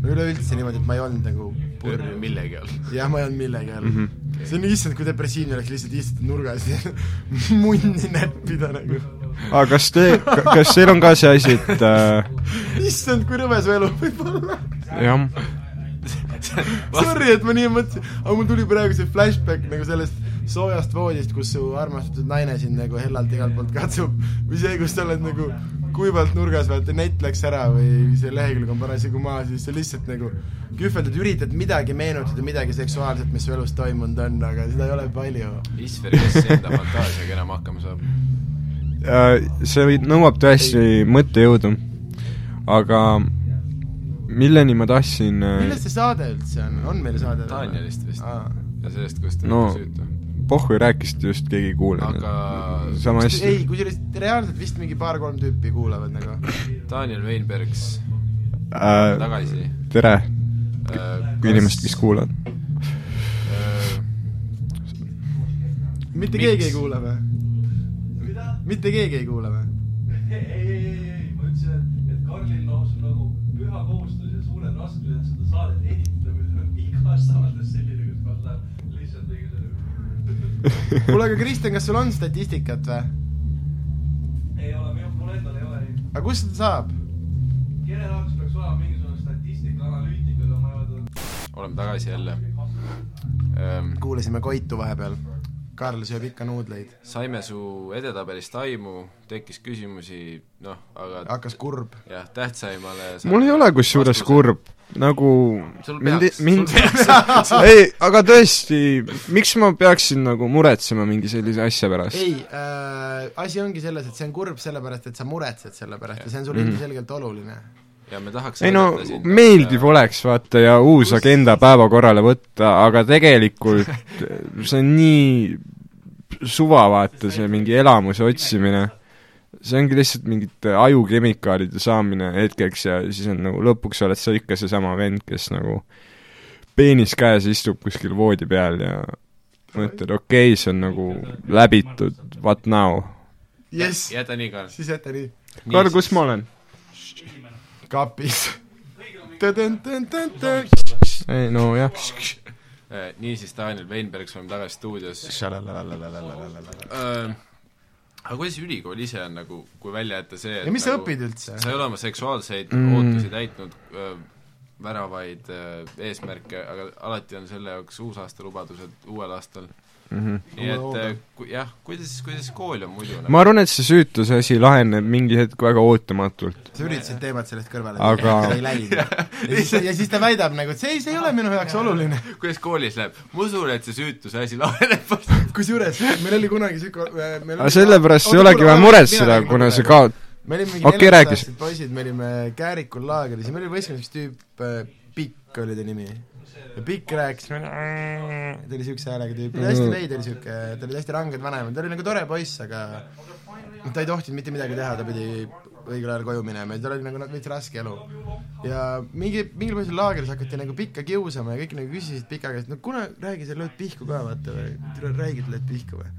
C: no üleüldse niimoodi , et ma ei olnud nagu purju .
E: millegi all .
C: [LAUGHS]
E: [LAUGHS]
C: jah , ma ei olnud millegi all mm .
D: Mhm.
C: -hmm. see on issand , kui depressiivne oleks lihtsalt istuda nurgas ja [LAUGHS] munni näppida nagu .
D: aga kas te , kas teil on ka see asi , et äh,
C: issand , kui rõve su elu võib olla .
D: jah ,
C: Sorry , et ma nii mõtlesin , aga mul tuli praegu see flashback nagu sellest soojast voodist , kus su armastatud naine sind nagu hellalt igalt poolt katsub või see , kus sa oled nagu kuivalt nurgas , vaata net läks ära või see lehekülg on parasjagu maas ja siis sa lihtsalt nagu kühveldad , üritad midagi meenutada , midagi seksuaalset , mis su elus toimunud on , aga seda ei ole palju .
E: Isver , kes enda fantaasiaga enam hakkama saab ?
D: äh, see või- nõuab tõesti mõttejõudu , aga milleni ma tahtsin äh,
C: millest see saade üldse on , on meil saade ?
E: Danielist vist
C: Aa.
E: ja sellest , kuidas ta
D: No.
E: on süütu .
D: Pohhu rääkisite just , keegi ei kuulanud
E: Aga-
D: sama
C: ei ,
D: hästi .
C: kusjuures reaalselt vist mingi paar-kolm tüüpi kuulavad nagu .
E: Daniel Veinbergs
D: Äh,
E: tagasi .
D: tere , inimesed , kes kuulavad .
E: Äh,
C: mitte
E: Miks?
C: keegi ei kuula või ? mitte keegi ei kuula või ?
F: ei , ei , ei , ei , ma ütlesin , et , et Karlil lausa nagu püha kohustus ja suured raskused seda saadet editada , kui ta on igas saates selline , kus ma saan lihtsalt mingi selle [LAUGHS]
C: kuule , aga Kristjan , kas sul on statistikat või ?
F: ei ole , minu , mul endal ei ole neid .
C: aga kust seda saab ?
F: kelle jaoks peaks olema mingisugune statistika analüütik , aga ma ei ole tulnud .
E: oleme tagasi jälle . Äh,
C: kuulasime Koitu vahepeal . Karl sööb ikka nuudleid .
E: saime su edetabelist aimu , tekkis küsimusi , noh , aga
C: hakkas [LAUGHS] kurb .
E: jah , tähtsaimale
D: mul ei ole kusjuures . kurb , nagu
E: Sul
D: mind
E: peaks, ,
D: mind
E: sul ,
D: ei , aga tõesti , miks ma peaksin nagu muretsema mingi sellise asja pärast ?
C: ei äh, , asi ongi selles , et see on kurb sellepärast , et sa muretsed selle pärast ja see on sulle ilmselgelt oluline .
E: ja me tahaks
D: ei no meeldiv oleks vaata ja uus agenda päevakorrale võtta , aga tegelikult see on nii suva vaata , see mingi elamuse otsimine . see ongi lihtsalt mingite ajukemikaalide saamine hetkeks ja siis on nagu lõpuks oled sa ikka seesama vend , kes nagu peenis käes istub kuskil voodi peal ja mõtled , okei okay, , see on nagu läbitud , what now ?
C: jess ,
E: jäta nii , Karl .
C: siis jäta nii .
D: Karl , kus ma olen ?
C: kapis . tõdõn-tõn-tõn-tõn .
D: ei nojah ,
E: niisiis , Äh, Daniel Veinbergs , oleme tagasi stuudios . aga kuidas ülikool ise on nagu , kui välja jätta see , et
C: ja mis sa
E: nagu,
C: õpid üldse ?
E: sa ei ole oma seksuaalseid
D: Mm.
E: mm. ootusi täitnud , väravaid öö, eesmärke , aga alati on selle jaoks uusaatalubadused uuel aastal
D: mhmh .
E: nii et
C: Uue
E: öö, ku- jah , kuidas , kuidas kool on muidu nagu?
D: ma arvan , et see süütuse asi laheneb mingi hetk väga ootamatult .
C: sa üritasid teemat sellest kõrvale
D: Aga-
C: viia, ei [LAUGHS] läinud . ja siis , ja siis ta väidab nagu , et see , see ei ole minu jaoks oluline .
E: kuidas koolis läheb ? ma usun , et see süütuse asi laheneb [LAUGHS]
C: kusjuures meil oli kunagi siuke meil
D: aga sellepärast ei olegi vaja muretseda , kuna see ka , [LAUGHS]
C: me olime mingi
D: Okei,
C: okay,
D: räägi.
C: neljateist poisid , me olime Käärikul laagris ja meil oli võistkonnas üks tüüp , Pikk oli ta nimi . ja Pikk rääkis , ta oli siukse häälega tüüp , ta oli hästi veider siuke , tal olid hästi ranged vanemad , ta oli nagu tore poiss , aga noh, ta ei tohtinud mitte midagi teha , ta pidi õigel ajal koju minema ja tal oli nagu noh, veits raske elu . ja mingi , mingil põhjusel laagris hakati nagu Pikka kiusama ja kõik nagu küsisid Pika käest , no kuule , räägi , sa lööd pihku ka vaata või , räägid , lööd pihku või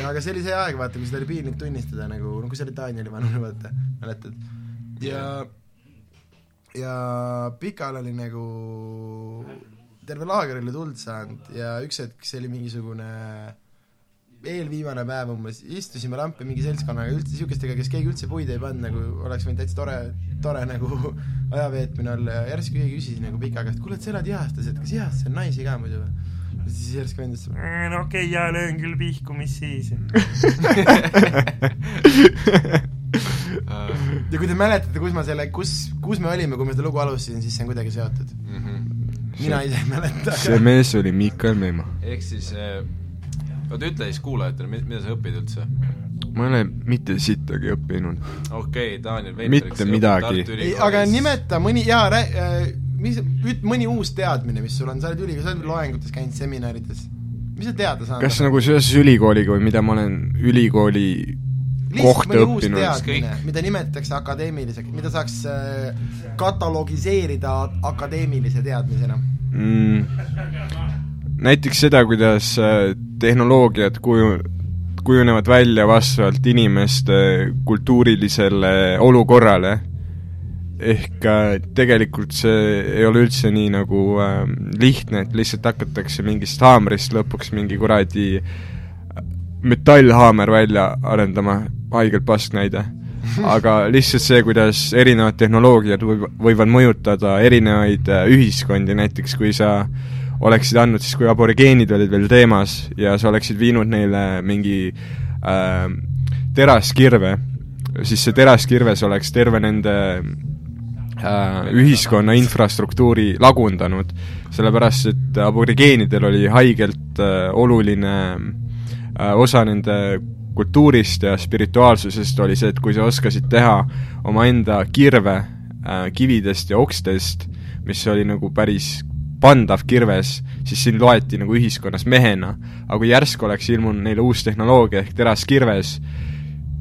C: ja aga see oli see aeg , vaata , kui seda oli piinlik tunnistada nagu , no kui sa olid Danieli vanune , vaata , mäletad . ja , ja Pikal oli nagu terve laager oli tuld saanud ja üks hetk , see oli mingisugune eelviimane päev umbes , istusime lampi mingi seltskonnaga , üldse siukestega , kes keegi üldse puid ei pannud , nagu oleks võinud täitsa tore , tore nagu [LAUGHS] ajaveetmine olla ja järsku keegi küsis nagu Pika käest , kuule , et sa elad Jahastas , et kas Jahastas on naisi ka muidu või ? ja siis järsku vend ütles ,
G: Äh, no okei okay, , jaa , löön küll pihku , mis siis .
E: vastu .
C: ja kui te mäletate , kus ma selle , kus , kus me olime , kui ma seda lugu alustasin , siis see on kuidagi seotud .
E: mhm.
C: mina ise ei mäleta .
D: see mees oli Miikal Meemaa .
E: ehk siis eh, oota , ütle siis kuulajatele , mida sa õpid üldse ?
D: ma ei ole mitte sittagi õppinud .
E: okei okay, , Daniel Veider .
D: Mitte midagi.
C: ei , aga . nimeta mõni , jaa , rää- , mis , üt- , mõni uus teadmine , mis sul on , sa oled üli , sa oled loengutes käinud , seminarides , mis sa teada saanud
D: kas nagu seoses ülikooliga või mida ma olen ülikooli
C: lihtsalt
D: kohta
C: mõni uus
D: õppinud ?
C: teadmine
E: ükskõik. ,
C: mida nimetatakse akadeemiliseks , mida saaks äh, katalogiseerida akadeemilise teadmisena .
D: mm, . näiteks seda , kuidas äh, tehnoloogiad kuju- , kujunevad välja vastavalt inimeste kultuurilisele olukorrale . ehk äh, tegelikult see ei ole üldse nii nagu äh, lihtne , et lihtsalt hakatakse mingist haamrist lõpuks mingi kuradi metallhaamer välja arendama , haigelt pask näide . aga lihtsalt see , kuidas erinevad tehnoloogiad või- võivad mõjutada erinevaid äh, ühiskondi , näiteks kui sa oleksid andnud siis , kui aborigeenid olid veel teemas ja sa oleksid viinud neile mingi äh, teraskirve , siis see teraskirves oleks terve nende äh, ühiskonna infrastruktuuri lagundanud , sellepärast et aborigeenidel oli haigelt äh, oluline äh, osa nende kultuurist ja spirituaalsusest oli see , et kui sa oskasid teha omaenda kirve äh, kividest ja okstest , mis oli nagu päris pandav kirves , siis sind loeti nagu ühiskonnas mehena . aga kui järsku oleks ilmunud neile uus tehnoloogia ehk teraskirves ,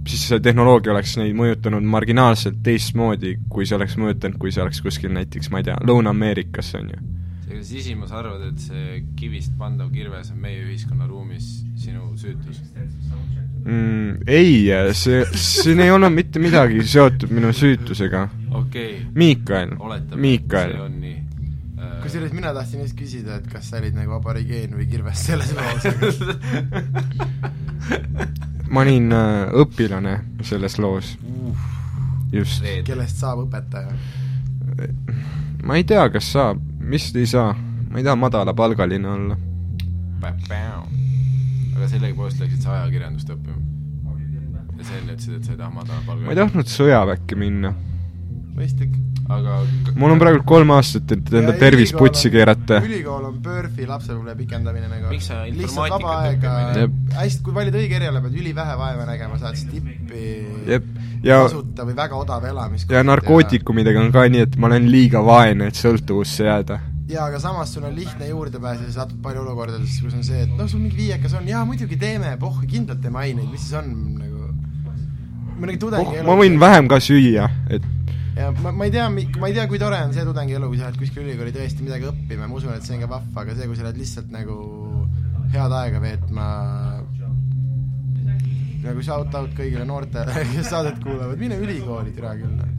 D: siis see tehnoloogia oleks neid mõjutanud marginaalselt teistmoodi , kui see oleks mõjutanud , kui see oleks kuskil näiteks , ma ei tea , Lõuna-Ameerikas on ju .
E: ega sa sisimas arvad , et see kivist pandav kirves on meie ühiskonnaruumis sinu süütus ?
D: mm, . ei , see , siin ei olnud mitte midagi seotud minu süütusega .
E: okei okay. ,
D: Miikael ,
E: oletame , et see
D: Miikael ,
E: on nii . Äh,
C: kusjuures mina tahtsin just küsida , et kas sa olid nagu aborigeen või kirves
D: [LAUGHS]
C: selles loos .
D: ma olin äh, õpilane selles loos . just .
E: Reede.
C: kellest saab õpetaja ?
D: ma ei tea , kas saab , vist ei saa , ma ei taha madalapalgaline olla .
E: aga sellegipoolest läksid sa ajakirjandust õppima . ja sa enne ütlesid , et sa ei taha madala palga .
D: ma ei . tahtnud sõjaväkke minna .
C: mõistlik .
E: aga
D: mul on praegu kolm aastat , et enda tervis putsi keerata .
C: ülikool on PÖRFi lapsepõlve pikendamine nagu .
E: Miks sa
C: lihtsalt
E: informaatikat
C: vaba aega
E: õppima
D: ei lähe? ,
C: hästi , kui valid õige eriala , pead ülivähe vaeva nägema , saad stippi
D: jep , ja ,
C: tasuta või väga odava elamiskoht .
D: ja narkootikumidega on ka nii , et ma olen liiga vaene , et sõltuvusse jääda .
C: jaa , aga samas sul on lihtne juurdepääs ja sa satud palju olukordadesse , kus on see , et noh , sul mingi viiekas on , jaa muidugi teeme , pohh , kindlalt teeme aineid , mis siis on nagu mõnegi
D: oh
C: tudengi ,
D: ma võin vähem ka süüa , et
C: ja ma , ma ei tea , ma ei tea , kui tore on see tudengielu , kui sa lähed kuskil ülikooli tõesti midagi õppima , ma usun , et see on ka vahva , aga see , kui sa lähed lihtsalt nagu head aega veetma , nagu shout out kõigile noortele , [LAUGHS] kes saadet kuulavad , mine ülikooli , türa küll noh.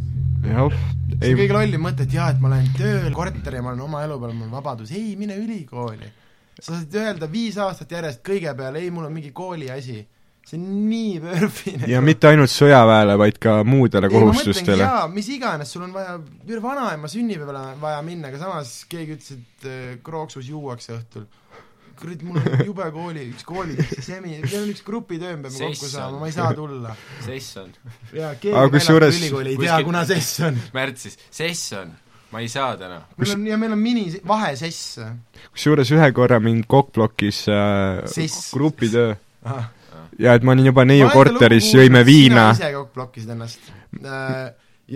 D: jah ,
C: see on
D: ei
C: kõige , lollim mõte , et jaa , et ma lähen tööle , korteri ja ma olen oma elu peal , mul on vabadus , ei mine ülikooli . sa saad öelda viis aastat järjest kõige peale , ei mul on mingi kooli asi . see on nii [LAUGHS] pörfine .
D: ja mitte ainult sõjaväele , vaid ka muudele kohustustele .
C: jaa , mis iganes , sul on vaja , vanaema sünnipäevale on vaja minna , aga samas keegi ütles , et äh, krooksus juuakse õhtul kurat , mul on jube kooli , üks kooli , semi , meil on üks grupitöö , me peame kokku
E: Sess
C: saama ,
E: on.
C: ma ei saa tulla .
E: sess on ,
C: jaa , keegi
D: Aga
C: elab
D: kusjuures-
C: ülikooli , ei tea ,
E: kuskil-
C: kuna sess on .
E: märtsis , sess on , ma ei saa täna .
C: meil on , ja meil on mini , vahesess
D: kusjuures ühe korra mind kokkplokis äh,
C: Siis-
D: grupitöö
C: ah. .
D: ja et ma olin juba neiu
C: Ma olen seda
D: korteris ,
C: lugu
D: jõime
C: kuulnud,
D: viina
C: sina ise kokku plokkisid ennast .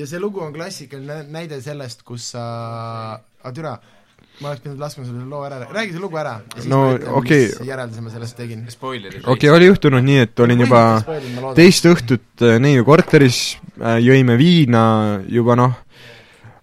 C: ja see lugu on klassikaline näide sellest , kus sa , aa türa , ma oleks pidanud laskma selle loo ära , räägi see lugu ära .
D: No, okei.
C: järelduse ma sellest tegin .
E: spoilerid .
D: okei okay, , oli juhtunud nii , et olin juba teist õhtut äh, neiu korteris , jõime viina juba noh ,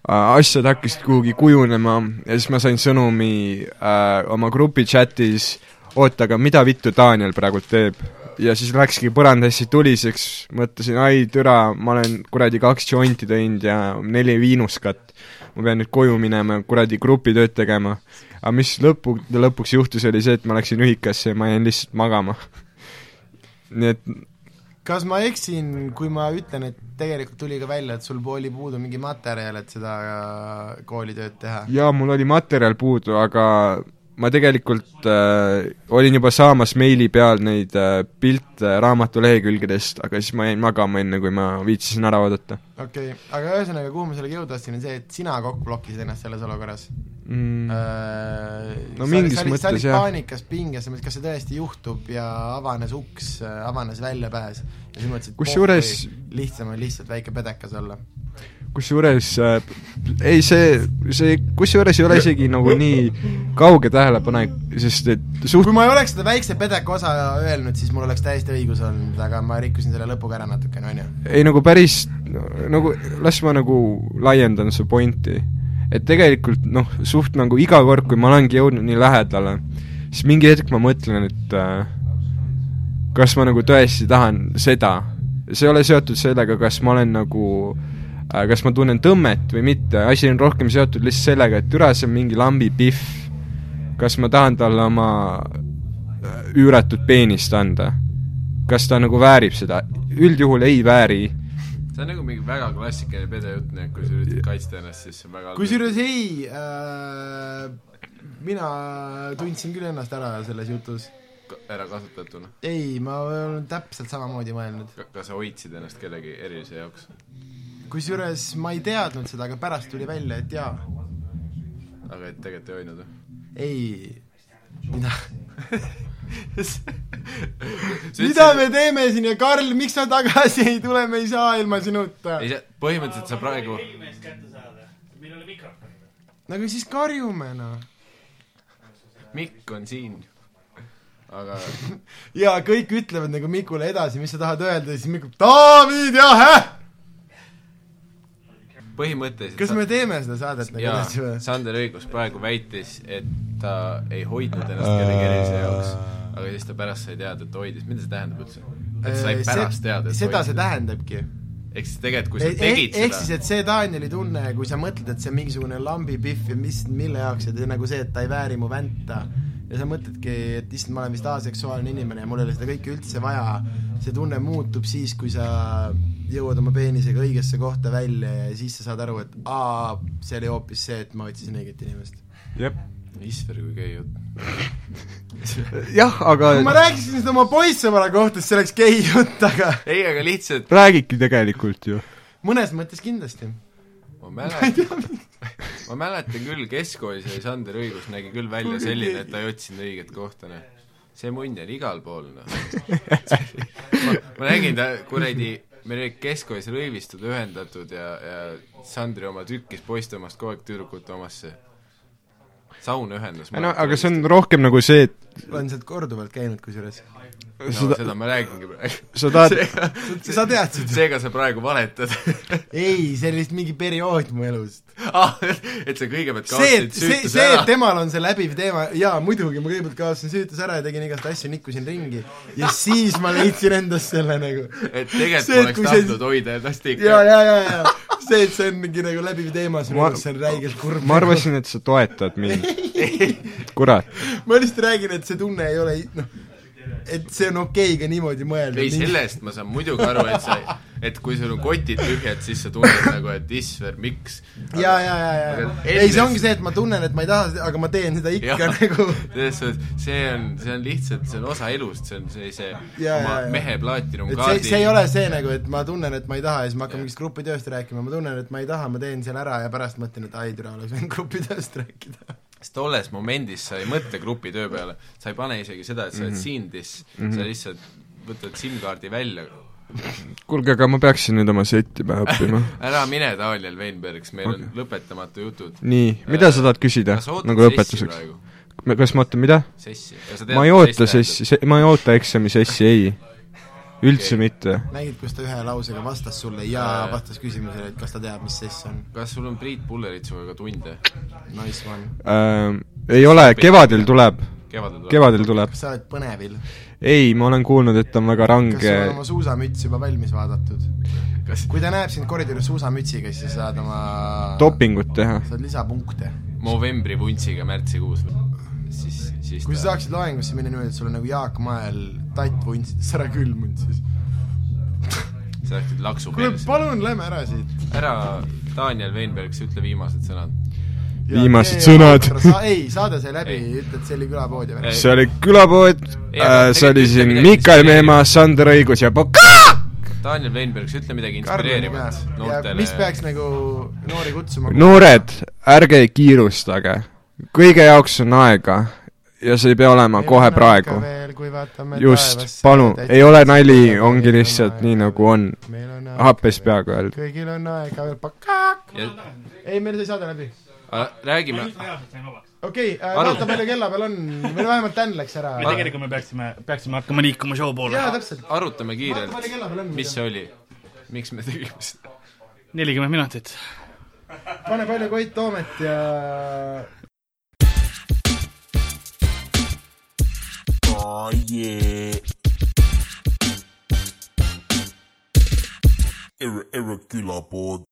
D: asjad hakkasid kuhugi kujunema ja siis ma sain sõnumi äh, oma grupi chatis , oota , aga mida vittu Daniel praegu teeb ? ja siis läkski põrand hästi tuliseks , mõtlesin , ai türa , ma olen kuradi kaks jointi teinud ja neli viinuskat , ma pean nüüd koju minema ja kuradi grupitööd tegema . aga mis lõpu , lõpuks juhtus , oli see , et ma läksin ühikasse ja ma jäin lihtsalt magama . [LAUGHS] nii et
C: kas ma eksin , kui ma ütlen , et tegelikult tuli ka välja , et sul oli puudu mingi materjal , et seda äh, koolitööd teha ?
D: jaa , mul oli materjal puudu , aga ma tegelikult äh, olin juba saamas meili peal neid äh, pilte raamatu lehekülgedest , aga siis ma jäin magama , enne kui ma viitsisin ära oodata
C: okei okay. , aga ühesõnaga , kuhu ma sellega jõuda tahtsin , on see , et sina kokku blokkisid ennast selles olukorras
D: mm. .
C: no
D: No mingis
C: Äh, sa
D: mõttes,
C: olid
D: jah.
C: paanikas , pinges , kas see tõesti juhtub ja avanes uks , avanes väljapääs ja siis mõtlesid ,
D: Kusjuures-
C: lihtsam on lihtsalt väike pedekas olla .
D: kusjuures äh, ei , see , see kusjuures ei ole isegi nagu nii kauge tähelepanek , sest et suht-
C: kui ma ei oleks seda väikse pedeka osa öelnud , siis mul oleks täiesti õigus olnud , aga ma rikkusin selle lõpuga ära natukene , onju .
D: ei nagu päris nagu , las ma nagu laiendan su pointi . et tegelikult noh , suht nagu iga kord , kui ma olengi jõudnud nii lähedale , siis mingi hetk ma mõtlen , et äh, kas ma nagu tõesti tahan seda . see ei ole seotud sellega , kas ma olen nagu äh, kas ma tunnen tõmmet või mitte , asi on rohkem seotud lihtsalt sellega , et üles on mingi lambi pihv . kas ma tahan talle oma äh, üüratut peenist anda ? kas ta nagu väärib seda ? üldjuhul ei vääri
E: see on nagu mingi väga klassikaline pedejutt , nii et kui sa üritad kaitsta ennast , siis see on väga
C: kusjuures ei äh, , mina tundsin küll ennast ära selles jutus .
E: Ka- ärakasutatuna .
C: ei , ma olen täpselt samamoodi mõelnud .
E: kas sa hoidsid ennast kellegi erilise jaoks ?
C: kusjuures ma ei teadnud seda , aga pärast tuli välja , et jaa ,
E: aga et tegelikult ei hoidnud või ?
C: ei , mina , mida
E: mida
C: me teeme siin ja Karl , miks sa tagasi ei tule , me ei saa ilma sinuta .
E: ei , põhimõtteliselt sa praegu ,
B: helimees kätte saada , meil ei ole mikrofoni .
C: no aga Nagu siis karjume noh .
E: Mikk on siin , aga
C: ja kõik ütlevad nagu Mikule edasi , mis sa tahad öelda , siis Mikk , David , jah , häh
E: põhimõtteliselt
C: kas me teeme seda saadet nagu
E: jaa
C: edasi , või ?
E: Sander Õigus praegu väitis , et ta ei hoidnud ennast kellegi erilise jaoks , aga siis ta pärast sai teada , et hoidis , mida see tähendab üldse ? et sa sai pärast teada , et
C: Äh, seda see tähendabki .
E: ehk siis tegelikult ,
D: Eh,
E: kui sa tegid
C: Eh, ehk siis ,
E: seda ,
C: et see Danieli tunne , kui sa mõtled , et see on mingisugune lambipihv ja mis , mille jaoks , et nagu see , et ta ei vääri mu vänta ja sa mõtledki , et issand , ma olen vist aseksuaalne inimene ja mul ei ole seda kõike üldse vaja , see tunne muutub siis , kui sa jõuad oma peenisega õigesse kohta välja ja siis sa saad aru , et aa , see oli hoopis see , et ma otsisin õiget inimest .
D: jah ,
E: issver kui gei jutt .
D: jah , aga
C: kui ma rääkisin seda oma poissõbra kohta , siis see oleks gei jutt , aga
E: ei , aga lihtsalt
D: räägidki tegelikult ju .
C: mõnes mõttes kindlasti
E: ma mäletan , ma mäletan küll , keskkoolis oli Sander Õigus , nägi küll välja selline , et ta ei otsinud õiget kohta , noh . see mund on igal pool , noh . ma, ma nägin ta kuradi , meil olid keskkoolis rõivistud , ühendatud ja , ja Sandri oma tükkis poiste omast kogu aeg tüdrukute omasse . saunaühendus .
D: no aga see on rohkem nagu see , et
C: olen sealt korduvalt käinud kusjuures .
E: no, seda...
D: seda-
E: seda ma räägingi praegu .
D: sa tahad ,
C: sa tead seda ?
E: seega sa praegu valetad
C: ei , see oli lihtsalt mingi periood mu elus .
E: [LAUGHS] ah, . et sa kõigepealt
C: see ,
E: kaotasid
C: et see ,
E: süütuse
C: see ,
E: ära
C: et . temal on see läbiv teema , jaa , muidugi , ma kõigepealt kaotasin süütuse ära ja tegin igast asju , nikkusin ringi ja siis ma leidsin endast selle nagu
E: et
C: See, et
E: tegelikult
C: kui
E: oleks
C: see-
E: tahtnud hoida ennast ikka
C: jaa , jaa , jaa , jaa , see , et see on mingi nagu läbiv teema , see
D: Ma-
C: on , see on räigelt kurb .
D: ma arvasin , et sa toetad mind . kurat .
C: ma lihtsalt räägin , et see tunne ei ole , noh , et see on okei ka niimoodi mõelda .
E: ei , sellest ma saan muidugi aru , et sa , et kui sul on kotid tühjad , siis sa tunned nagu , et isver , miks .
C: jaa , jaa , jaa , jaa .
E: Aga
C: ei , see
E: enne-
C: ongi see , et ma tunnen , et ma ei taha , aga ma teen seda ikka nagu
E: selles suhtes , see on , see on lihtsalt , see on osa elust , see on see , see
C: Jaa,
E: oma
C: jaa, jaa. et
E: mehe
C: see , see ei
E: plaatinumkaardi
C: ole see nagu , et ma tunnen , et ma ei taha ja siis ma hakkan mingist grupitööst rääkima , ma tunnen , et ma ei taha , ma teen selle ära ja pärast mõtlen , et ai , türa , oleks võinud grupitööst rääkida .
E: sest tolles momendis sa ei mõtle grupitöö peale , sa ei pane isegi seda , et sa
C: Mhm.
E: oled siin dis , sa lihtsalt võtad SIM-kaardi välja .
D: kuulge , aga ma peaksin nüüd oma setti pähe õppima .
C: Mhm.
E: ära mine , Daniel Veinbergs , meil on lõpetamatu jutud .
D: nii , mida sa tahad küsida
E: kas sa ootad
D: nagu
E: sessi
D: lõpetuseks ?
E: praegu ?
D: kas ma ootan mida ?
E: sessi ?
D: ma ei oota sessi ,. ma ei oota eksami sessi , ei . üldse mitte .
C: nägid , kus ta ühe lausega vastas sulle ja vastas küsimusele , et kas ta teab , mis sess on .
E: kas sul on Priit Pullerit sinuga tunde ?
C: Nice one .
D: Äh, Ei ole , kevadel tuleb ,
E: kevadel tuleb ?
D: kevadel tuleb .
C: kas sa oled põnevil ?
D: ei , ma olen kuulnud , et ta on väga
C: kas sul
D: range
C: on oma suusamüts juba valmis vaadatud ?
E: kas
C: kui ta näeb sind koridoris suusamütsiga , siis sa saad oma
D: dopingut teha .
C: saad lisapunkte .
E: novembri vuntsiga märtsikuus või ? siis , siis
C: kui sa saaksid loengusse minna niimoodi , et sul on nagu Jaak Mael tatt vuntsis , ära külm vuntsis .
E: sa läksid laksu
C: kuule ,
E: peale .
C: palun lähme ära siit .
E: ära , Daniel Veinberg , sa ütle viimased sõnad .
D: Viimased sõnad.
C: ei , saade sai läbi ,
E: Ei.
C: ütled , see oli külapood ja
E: Ei.
C: värk .
D: see oli külapood äh,
E: Ei, aga ,
D: see oli
E: tegelikult
D: siin
E: midagi
D: Mikael
E: inspireerib.
D: Meemaa , Sander Õigus ja Poka- .
E: Daniel Veinberg , sa ütle midagi inspireerivat
C: ja
E: noortele
C: mis peaks nagu noori kutsuma ?
D: noored , ärge kiirustage , kõige jaoks on aega ja see ei pea olema kohe praegu . just , palun , ei ole nali , ongi lihtsalt nii , nagu on . happes peaaegu öeldud .
C: kõigil on aega veel , pakak .
E: ja,
C: ei , meil sai saade läbi .
E: a, räägime ,
C: okei okay, ,
E: Arv-
C: vaata palju kella peal on , või no vähemalt Dan läks ära .
B: me tegelikult me peaksime , peaksime hakkama liikuma show poole .
C: jaa , täpselt .
E: arutame
C: vaata palju
E: kiirelt ,
C: kella peal on .
E: mis see oli , miks me tegime seda .
B: nelikümmend minutit .
C: pane palju Koit Toomet ja
A: Oh yeah. Ir- irregular board.